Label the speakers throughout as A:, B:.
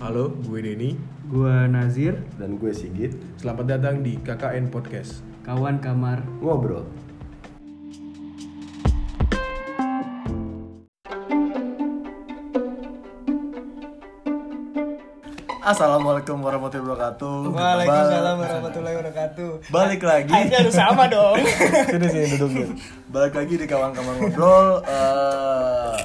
A: Halo, gue Denny.
B: Gua Nazir,
C: dan gue Sigit
A: Selamat datang di KKN Podcast.
B: kawan kamar.
C: ngobrol.
D: Assalamualaikum warahmatullahi wabarakatuh.
E: Waalaikumsalam
D: Ba-
E: warahmatullahi wabarakatuh.
D: Balik lagi.
E: Akhirnya harus sama dong.
D: sini sini duduk dulu. Balik lagi di kawan kamar ngobrol. Eh,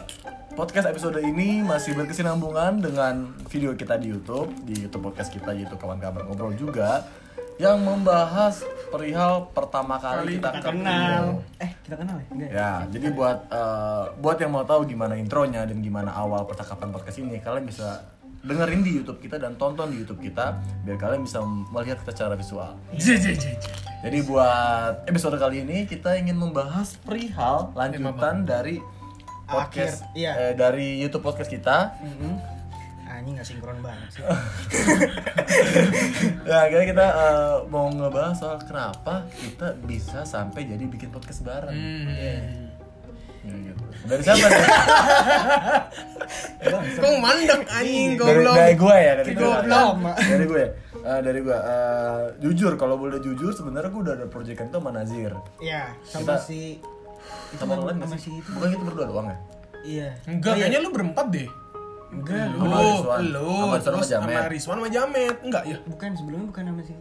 D: podcast episode ini masih berkesinambungan dengan video kita di YouTube, di YouTube podcast kita yaitu kawan kamar ngobrol juga yang membahas perihal pertama kali kita, ketemu.
E: Kenal. Eh, kita kenal ya? Enggak. ya?
D: Ya, jadi buat eh, buat yang mau tahu gimana intronya dan gimana awal percakapan podcast ini, kalian bisa dengerin di YouTube kita dan tonton di YouTube kita biar kalian bisa melihat kita secara visual. Jadi buat episode kali ini kita ingin membahas perihal lanjutan dari podcast
E: Akhir, iya. Mm-hmm.
D: eh, dari YouTube podcast kita.
E: Anjing nggak sinkron banget sih.
D: Nah, akhirnya kita eh, mau ngebahas soal kenapa kita bisa sampai jadi bikin podcast bareng. Iya. Ya, gitu. Dari siapa? nih?
F: Kok mandek anjing
D: dari,
F: goblok.
D: dari gue ya dari
F: Si
D: gue
F: goblok.
D: dari gue Eh, dari gue Eh, jujur kalau boleh jujur sebenarnya gue udah ada proyekan tuh sama Nazir
E: Iya, sama
D: Kita-
E: si itu
D: sama
E: sama,
D: orang lain
E: sama
D: nggak
E: si
D: sih
E: itu.
D: bukan kita berdua doang ya
E: Iya.
F: Enggak, kayaknya lu berempat deh. Enggak, lu,
D: Sama Rizwan.
F: lu,
D: Sama Rizwan
F: terus
D: sama Jamet.
F: sama Rizwan sama Jamet. Enggak ya?
E: Bukan sebelumnya bukan sama si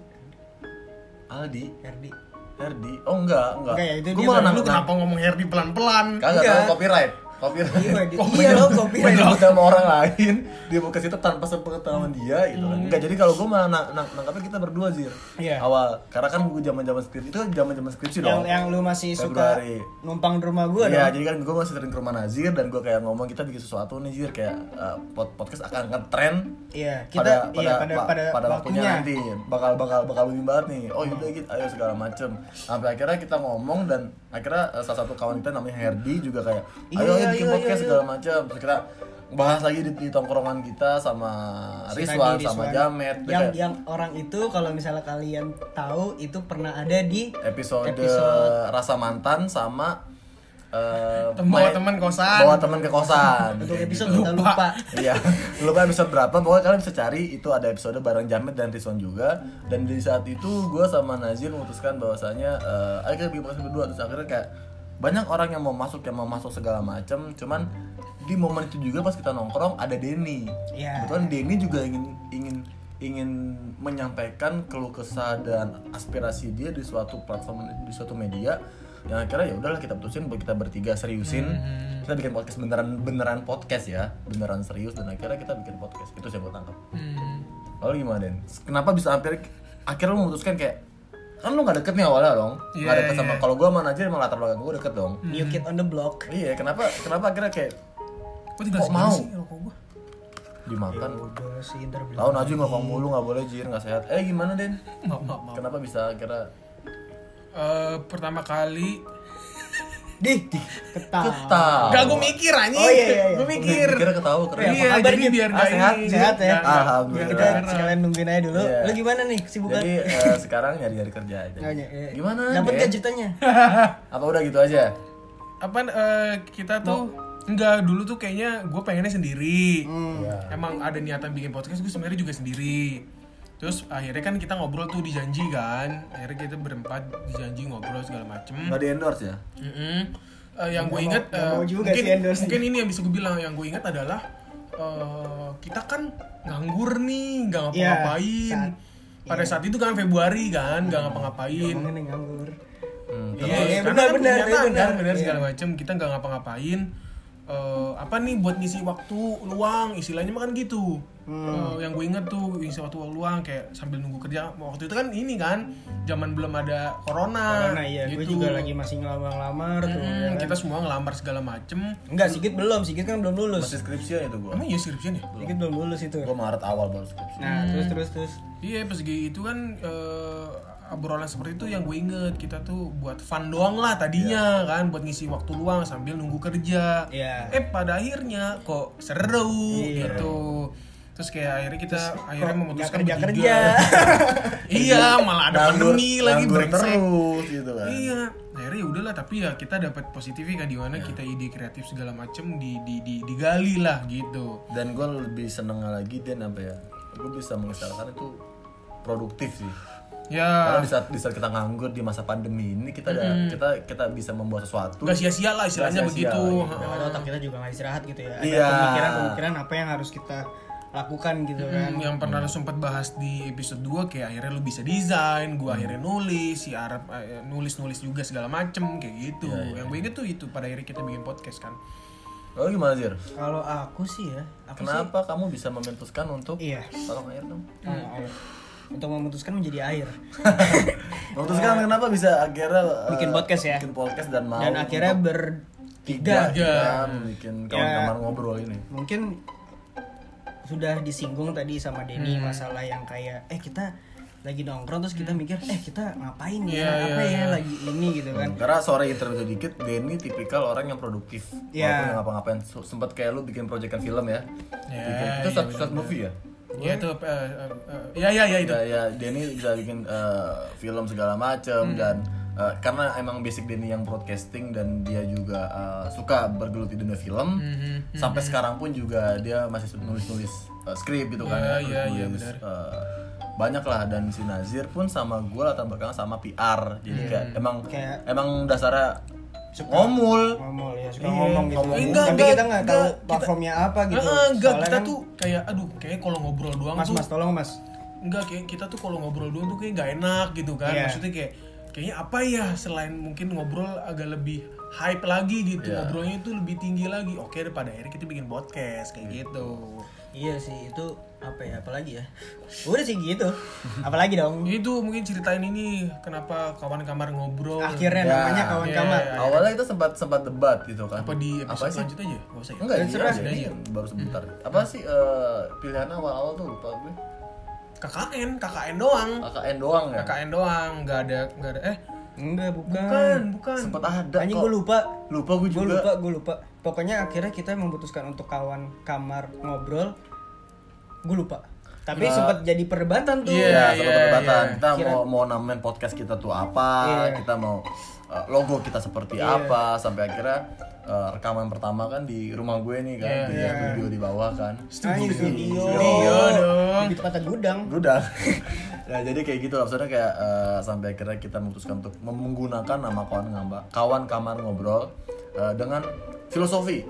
D: Aldi
E: Herdi.
D: Herdi oh enggak
E: Enggak
D: enggak
E: ya, itu
D: gue
E: dia
D: malah
E: sama
D: nang
F: Lu kenapa ngomong Herdi pelan-pelan?
D: kagak tahu copyright copyright
E: Iya, di-
D: Gua
E: iya,
D: nyebut-
E: lo copyright.
D: gua nyebut sama orang lain dia mau ke situ tanpa sepengetahuan dia gitu
E: Hmm.
D: kan enggak jadi kalau gue malah nang- nang- nangkapnya kita berdua Zir
E: Iya.
D: awal karena kan gue zaman zaman skripsi itu kan zaman zaman skripsi
E: Yang
D: dong
E: yang lu masih suka
D: Februari.
E: numpang di rumah gua dong.
D: Iya, jadi kan gue masih sering ke rumah Nazir dan gue kayak ngomong kita bikin sesuatu nih Zir kayak eh, pod- podcast akan ngetren
E: Iya, kita iya
D: pada pada,
E: pada
D: wa-
E: pada,
D: pada waktunya
E: waktunya.
D: nanti bakal bakal bakal lebih banget nih. Oh yaudah gitu, ayo segala macem. Sampai akhirnya kita ngomong dan akhirnya eh, salah satu kawan kita namanya Herdi juga kayak
E: Iya,
D: ayo ayo
E: iya,
D: bikin
E: iya,
D: podcast
E: iya.
D: segala macem. Terus kita bahas lagi di, di tongkrongan kita sama
E: Si
D: Rizwan
E: tadi,
D: sama
E: Rizwan.
D: Jamet Dia
E: Yang
D: kayak,
E: yang orang itu kalau misalnya kalian tahu itu pernah ada di
D: episode,
E: episode
D: rasa mantan sama eh,
F: Tem- bawa
D: main-
F: teman kosan.
D: bawa teman ke kosan
E: untuk
D: Kayak
E: episode
D: gitu.
E: kita lupa.
D: Iya, lupa episode berapa, pokoknya kalian bisa cari itu ada episode bareng Jamet dan Rizwan juga Dan di saat itu gue sama Nazir memutuskan bahwasanya eh, Ayo kita bikin podcast berdua, terus akhirnya kayak banyak orang yang mau masuk, yang mau masuk segala macam Cuman di momen itu juga pas kita nongkrong ada Denny
E: Iya.
D: Kebetulan Denny juga ingin ingin ingin menyampaikan keluh kesah dan aspirasi dia di suatu platform di suatu media yang akhirnya ya udahlah kita putusin buat kita bertiga seriusin
F: Hmm.
D: kita bikin podcast beneran beneran podcast ya beneran serius dan akhirnya kita bikin podcast itu sih yang gue tangkap
F: Hmm.
D: lalu gimana Den kenapa bisa hampir akhirnya lu memutuskan kayak kan lu gak deket nih awalnya dong
F: Iya, Hmm.
D: gak deket sama kalau gue sama Najir emang latar belakang gue deket dong
E: New Kid on the Block.
D: iya kenapa kenapa akhirnya kayak
F: Kok tinggal
D: kok
F: segini
D: mau
F: sih rokok gua?
D: dimakan
E: Udah sih ntar beli.
D: Tahu Najwa ngomong mulu nggak boleh jir nggak sehat. Eh gimana Den?
F: Maaf, maaf, maaf.
D: Kenapa bisa kira
F: Eh, pertama kali
E: Dih, ketah.
D: ketawa?
F: Gak gue mikir anjing.
E: Oh, iya, iya, iya.
F: Gue Ah. mikir.
D: Kira ketawa keren.
E: Iya, apa kabar,
F: jadi
E: Jin?
F: biar
D: Ah,
F: gak
D: sehat,
F: ini.
E: sehat ya?
F: Gak- gak-
D: Alhamdulillah.
E: Kita sekalian nungguin aja dulu.
D: Iya.
E: Lu gimana nih sibukan?
D: Jadi eh, sekarang nyari nyari kerja aja.
E: Nggak, iya.
D: Gimana? Eh?
E: Dapat
D: Den?
E: gak ceritanya?
D: Apa udah gitu aja?
F: Apa eh, kita tuh Enggak, dulu tuh kayaknya gue pengennya sendiri
A: Iya.
F: Emang ada niatan bikin podcast, gue sebenarnya juga sendiri Terus akhirnya kan kita ngobrol tuh dijanji kan Akhirnya kita berempat dijanji ngobrol segala macem
D: Nggak di endorse ya?
F: Mm-mm. Eh, yang gue inget
E: nggak
F: eh,
E: mau juga
F: mungkin
E: sih endorse.
F: mungkin ini yang bisa gue bilang yang gue inget adalah eh, kita kan nganggur nih nggak ngapa-ngapain
E: Iya, saat- iya.
F: pada saat itu kan Februari kan nggak ngapa-ngapain
E: Ngomongin yang nganggur.
D: Hmm.
F: Iya,
E: Iya,
F: iya, karena
E: benar,
F: kan
E: benar,
F: kenyataan
E: iya, benar.
F: kan, benar
E: Iya.
F: segala macam. Kita nggak ngapa-ngapain. Eh, apa nih buat ngisi waktu luang istilahnya mah kan gitu
E: Hmm.
F: Eh, yang gue inget tuh ngisi waktu luang kayak sambil nunggu kerja waktu itu kan ini kan zaman belum ada corona, gitu.
E: Karena iya,
D: Gitu.
E: gue juga lagi masih ngelamar-lamar tuh.
F: Hmm,
D: Iya.
E: ya kan?
F: kita semua ngelamar segala macem
E: Enggak, Sigit belum. Sigit kan belum lulus.
D: Masih skripsian itu gua.
F: Emang iya skripsian ya?
E: Sigit belum lulus itu.
D: Gua Maret awal baru skripsi.
E: Nah, terus terus terus.
F: Iya pas gitu itu kan eh, obrolan seperti itu yang gue inget kita tuh buat fun doang lah tadinya kan buat ngisi waktu luang sambil nunggu kerja.
E: Iya.
F: Eh pada akhirnya kok seru gitu. Iya. terus kayak akhirnya kita akhirnya
E: Kok
F: memutuskan
E: nggak
F: bertiga.
E: kerja-kerja?
F: iya malah ada
D: Nganggur-
F: pandemi lagi
D: nganggur
F: brengsek.
D: terus gitu kan
F: Iya, akhirnya ya udahlah tapi ya kita dapat positifnya kan di mana kita ide kreatif segala macem di, di, di digali lah gitu.
D: dan gue lebih seneng lagi dan apa ya gue bisa mengesalkan itu produktif sih
F: Ya
E: Ah.
D: karena di saat, di saat kita nganggur di masa pandemi ini kita ada kita kita bisa membuat sesuatu
F: nggak sia-sia lah istilahnya
D: Nggak sia-sia,
F: begitu.
D: gitu.
F: Ha-ha.
E: Karena otak kita juga nggak istirahat gitu ya. Ada
D: Iya.
E: pemikiran-pemikiran apa yang harus kita lakukan gitu kan.
F: Hmm, yang pernah lu sempat bahas di episode 2 kayak akhirnya lu bisa desain,
E: Hmm.
F: gua akhirnya nulis, si Arab eh, nulis-nulis juga segala macem kayak gitu.
E: Iya,
F: Yang gue inget tuh itu pada akhirnya kita bikin podcast kan.
D: Lalu gimana Zir?
E: Kalau aku sih ya, aku sih
D: Kenapa kamu bisa memutuskan untuk
E: Iya.
D: tolong air dong?
E: Tolong
D: Hmm.
E: air. Untuk memutuskan menjadi air.
D: Memutuskan kenapa bisa akhirnya eh,
E: Bikin podcast ya?
D: Bikin podcast dan mau
E: Dan akhirnya Iya.
D: untuk
E: bertiga.
D: tiga jam bikin kawan-kawan ngobrol ini.
E: Mungkin sudah disinggung tadi sama Denny masalah yang kayak eh kita lagi nongkrong terus kita mikir eh kita ngapain ya apa ya lagi ini gitu kan
D: Karena sore interview dikit, Denny tipikal orang yang produktif.
E: Iya.
D: Walaupun nggak ngapa-ngapain, So- sempet kayak lu bikin proyekan film ya.
E: Iya,
D: Bikin- itu satu satu movie ya.
F: Ya itu eh, eh, eh, ya ya ya itu.
D: Ya, ya Denny bisa bikin eh, film segala
F: Hmm.
D: macem dan eh, karena emang basic Denny yang broadcasting dan dia juga eh, suka bergelut di dunia film.
F: Hmm,
D: Sampai sekarang pun juga dia masih nulis-nulis eh, skrip gitu kan.
F: Ya,
D: ya,
F: ya, ya,
D: nulis-nulis, eh, banyak lah dan si Nazir pun sama gue latar belakang sama PR jadi
F: Hmm.
D: kayak emang
E: Kayak-
D: emang dasarnya ngomul
E: ngomong ya suka ngomong gitu
D: ngomong.
F: Enggak,
E: tapi kita nggak tahu
F: enggak, kita-
E: platformnya apa gitu
F: Eh, enggak
E: Soalnya
F: kita
E: kan-
F: tuh kayak aduh kayak kalau ngobrol doang
E: Mas
F: tuh
E: Mas tolong Mas.
F: enggak kayak kita tuh kalau ngobrol doang tuh kayak nggak enak gitu kan
E: Iya.
F: maksudnya kayak kayaknya apa ya selain mungkin ngobrol agak lebih hype lagi gitu
D: Iya.
F: ngobrolnya itu lebih tinggi lagi oke daripada akhirnya kita bikin podcast kayak gitu
E: Iya sih itu apa ya apalagi ya. Udah sih gitu. Apalagi dong.
F: itu mungkin ceritain ini kenapa kawan kamar ngobrol
E: Akhirnya
D: Ya.
E: namanya kawan kamar.
D: awalnya kita sempat sempat debat gitu
F: ya.
D: kan
F: apa di
D: apa
F: episode
D: sih
F: selanjutnya Hmm. aja nggak usah ya
D: enggak
E: Dan
D: iya,
E: serah.
D: iya, iya, baru sebentar apa sih eh, pilihan awal-awal tuh lupa gue
F: KKN KKN doang
D: KKN doang ya
F: KKN doang nggak ada nggak ada eh
E: Enggak bukan.
F: bukan bukan
D: sempat ada
E: Anjing
D: kok.
E: gue lupa.
D: lupa
E: Gue
D: gue juga
E: lupa, gue lupa. Pokoknya akhirnya kita memutuskan untuk kawan kamar ngobrol. Gue lupa. Tapi sempat jadi perdebatan tuh.
F: Iya.
D: ya satu perdebatan
F: iya.
D: kita
E: Kira-
D: mau mau namain podcast kita tuh apa
E: Iya.
D: kita mau uh, logo kita seperti apa sampai akhirnya uh, rekaman pertama kan di rumah gue nih kan di studio di bawah kan
E: Anjing, Iya, studio.
F: Studio dong.
E: Di tempatan gudang.
D: udah nah jadi kayak gitu lah maksudnya kayak uh, sampai akhirnya kita memutuskan untuk mem- menggunakan nama kawan ngamba kawan kamar ngobrol uh, dengan filosofi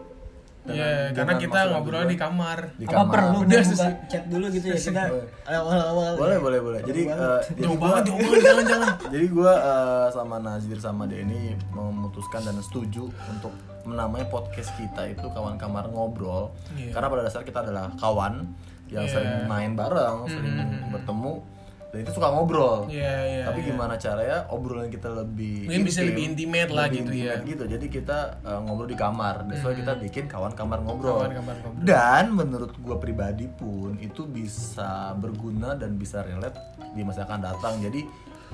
F: Iya, karena
D: Dengan- dengan
F: kita
D: maksud
F: ngobrol
D: gue
F: di kamar
D: di
E: Apa
D: kamar
E: perlu
F: Udah,
E: gue buka
F: sesi-
E: chat dulu gitu ya kita awal-awal.
D: boleh boleh boleh jadi uh, jadi
F: Ya. jauh
D: gua-
F: banget jauh banget jangan jangan
D: Jadi gua eh, sama Nazir sama Denny memutuskan dan setuju untuk menamai podcast kita itu kawan kamar ngobrol
F: Iya.
D: karena pada dasar kita adalah kawan yang sering main bareng, sering bertemu dan itu suka ngobrol.
F: Mm-hmm. Iya, iya,
D: Tapi gimana caranya obrolan kita lebih
F: Mungkin bisa lebih intimate lah gitu ya.
D: gitu. Jadi kita eh, ngobrol di kamar. That's why kita bikin kawan kamar ngobrol.
F: Kawan kamar ngobrol.
D: Dan menurut gua pribadi pun itu bisa berguna dan bisa relate di masa yang akan datang. Jadi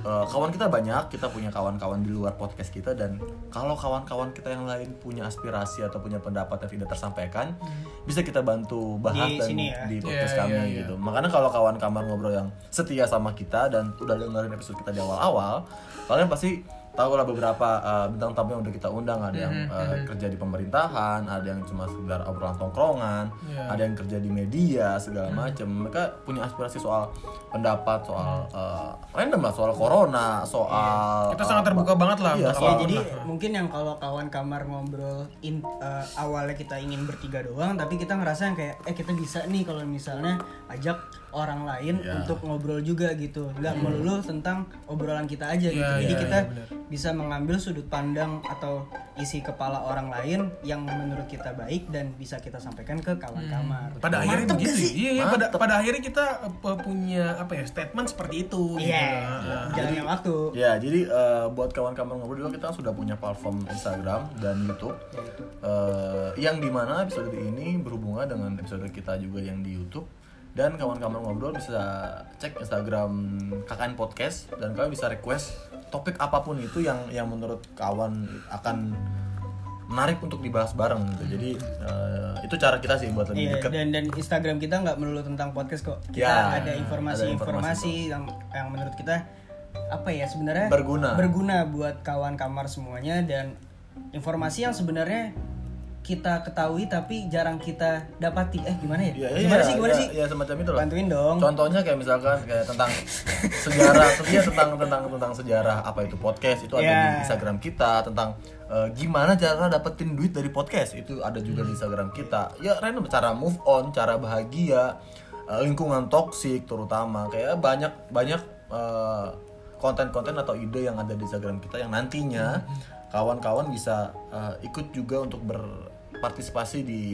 D: eh, kawan kita banyak, kita punya kawan-kawan di luar podcast kita dan kalau kawan-kawan kita yang lain punya aspirasi atau punya pendapat yang tidak tersampaikan,
F: Hmm.
D: bisa kita bantu bahas
E: Di
D: dan
E: sini ya.
D: di podcast
F: Iya,
D: kami
F: iya, iya.
D: gitu. Makanya kalau kawan kamar ngobrol yang setia sama kita dan udah dengerin episode kita di awal-awal, kalian pasti tahu lah beberapa uh, bintang tamu yang udah kita undang ada yang
F: Mhm,
D: uh, kerja di pemerintahan, ada yang cuma sekedar obrolan tongkrongan,
F: Iya. Mhm.
D: ada yang kerja di media segala macam. Mereka punya aspirasi soal pendapat, soal uh, random lah, soal corona, soal
F: Mhm. Iya.
D: eh,
F: kita sangat terbuka banget lah
D: Iya,
F: untuk
E: Ya,
D: soal-
F: kawan.
E: jadi mungkin yang kalau kawan kamar ngobrol in- eh, awalnya kita ingin bertiga doang tapi kita ngerasa yang kayak eh kita bisa nih kalau misalnya ajak orang lain
F: Iya.
E: untuk ngobrol juga gitu nggak melulu tentang obrolan kita aja gitu
F: Iya,
E: jadi
F: iya,
E: kita
F: iya, benar.
E: bisa mengambil sudut pandang atau isi kepala orang lain yang menurut kita baik dan bisa kita sampaikan ke kawan kamar
F: pada akhirnya begitu ya. iya iya pada pada akhirnya kita eh, punya apa ya statement seperti itu gitu.
E: iya
F: Nah,
E: jalannya waktu
D: Ya, jadi eh, buat kawan kamar ngobrol juga kita sudah punya platform Instagram dan YouTube. Eh, yang dimana episode ini berhubungan dengan episode kita juga yang di YouTube. Dan kawan kamar ngobrol bisa cek Instagram KKN Podcast dan kalian bisa request topik apapun itu yang yang menurut kawan akan menarik untuk dibahas bareng gitu. Jadi eh, itu cara kita sih buat lebih
E: Iya,
D: dekat.
E: dan dan Instagram kita nggak melulu tentang podcast kok. Kita
D: Ya,
E: ada
D: ada informasi
E: informasi-informasi yang yang menurut kita apa ya sebenarnya
D: Berguna.
E: berguna buat kawan kamar semuanya dan informasi yang sebenarnya kita ketahui tapi jarang kita dapati. Eh gimana ya?
D: Iya, iya,
E: gimana
D: iya,
E: sih? Gimana
D: iya,
E: sih?
D: Iya, semacam itu lah.
E: Bantuin dong.
D: Contohnya kayak misalkan kayak tentang sejarah, setia tentang tentang tentang sejarah apa itu podcast itu ada
E: Iya.
D: di Instagram kita tentang eh, gimana cara dapetin duit dari podcast itu ada juga
E: Hmm.
D: di Instagram kita. Ya random cara move on, cara bahagia, eh, lingkungan toksik terutama kayak banyak banyak eh, konten-konten atau ide yang ada di Instagram kita yang nantinya
E: Hmm.
D: kawan-kawan bisa eh, ikut juga untuk berpartisipasi di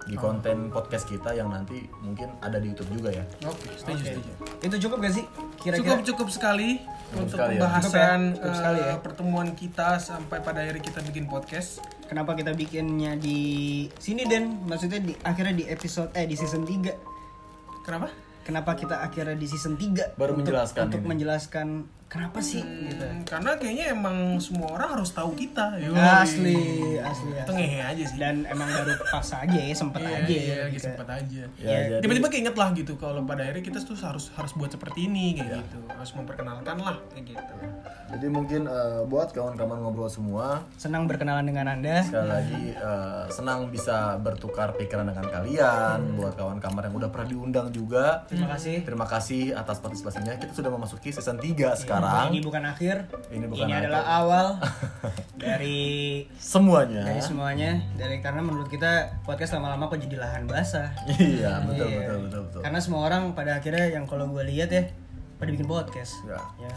D: di
E: Oh.
D: konten podcast kita yang nanti mungkin ada di YouTube juga ya.
F: Oke, setuju, setuju.
E: Itu cukup gak sih?
F: cukup
E: Iya. Kira-kira
F: cukup sekali untuk
D: sekali ya.
F: pembahasan
E: Cukup ya, cukup sekali
F: eh,
E: ya.
F: pertemuan kita sampai pada akhirnya kita bikin podcast.
E: kenapa kita bikinnya di sini dan maksudnya di akhirnya di episode eh di season 3
F: Kenapa?
E: Kenapa kita akhirnya di season 3
D: Baru
E: untuk,
D: menjelaskan
E: untuk
D: ini.
E: menjelaskan kenapa sih gitu.
F: Hmm, karena kayaknya emang semua orang harus tahu kita. Yoi.
E: Asli, Iya, asli,
F: Itu
E: asli.
F: ngehe aja sih.
E: Dan emang baru pas aja ya, sempet
F: Iya,
E: aja
F: iya,
E: ya.
F: lagi
E: gitu.
F: sempat aja.
D: Ya, jadi-
F: Tiba-tiba keinget lah gitu kalau pada akhirnya kita tuh harus harus buat seperti ini
D: Iya.
F: kayak gitu. Harus memperkenalkan lah kayak gitu.
D: Jadi mungkin eh, buat kawan-kawan ngobrol semua
E: Senang berkenalan dengan Anda.
D: sekali lagi eh, senang bisa bertukar pikiran dengan kalian buat kawan kamar yang udah pernah diundang juga.
E: Terima kasih. Iya,
D: Terima kasih atas partisipasinya. Kita sudah memasuki season 3 sekarang.
E: Ini bukan akhir.
D: Ini bukan akhir.
E: adalah awal dari
D: Semuanya.
E: dari semuanya. Dari karena menurut kita podcast lama-lama kok jadi lahan basah.
D: Iya, betul,
E: Iya.
D: betul betul betul.
E: Karena semua orang pada akhirnya yang kalau gue lihat ya pada bikin podcast.
D: Ya.
E: Ya.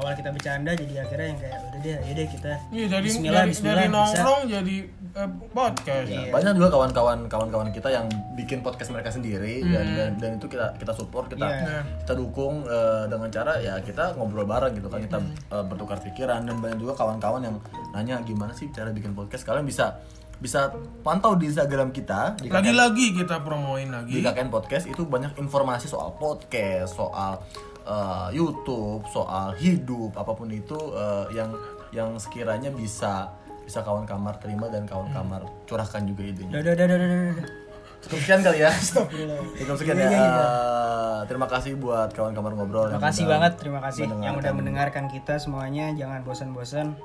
E: Awal kita bercanda jadi akhirnya yang kayak udah deh, ya deh kita.
F: Iya, jadi
E: Bismillah,
F: dari,
E: Bismillah,
F: dari
E: bisa. Iya.
F: nongkrong jadi eh, podcast.
D: Ya, Banyak juga kawan-kawan kawan-kawan kita yang bikin podcast mereka sendiri dan, dan dan itu kita kita support, kita
E: Iya.
D: kita dukung eh, dengan cara ya kita ngobrol bareng gitu kan kita eh, bertukar pikiran dan banyak juga kawan-kawan yang nanya gimana sih cara bikin podcast. Kalian bisa bisa pantau di Instagram kita di KKN
F: Lagi-lagi kita promoin lagi.
D: di KKN Podcast itu banyak informasi soal podcast, soal eh, YouTube, soal hidup, apapun itu eh, yang yang sekiranya bisa bisa kawan kamar terima dan kawan kamar curahkan juga idenya.
E: Udah, udah, udah, udah, udah, udah.
D: Cukup sekian kali ya. Cukup sekian ya. Eh, terima kasih buat kawan kamar ngobrol.
E: Iya, Terima
D: yang
E: kasih
D: udah-
E: banget, terima kasih yang
D: mendengarkan.
E: udah mendengarkan kita semuanya. Jangan bosan-bosan.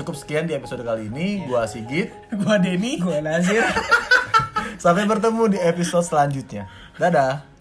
D: Cukup sekian di episode
E: Iya.
D: kali ini. Gua Sigit.
F: Gua Denny.
E: Gue Nazir.
D: Sampai bertemu di episode selanjutnya. Dadah.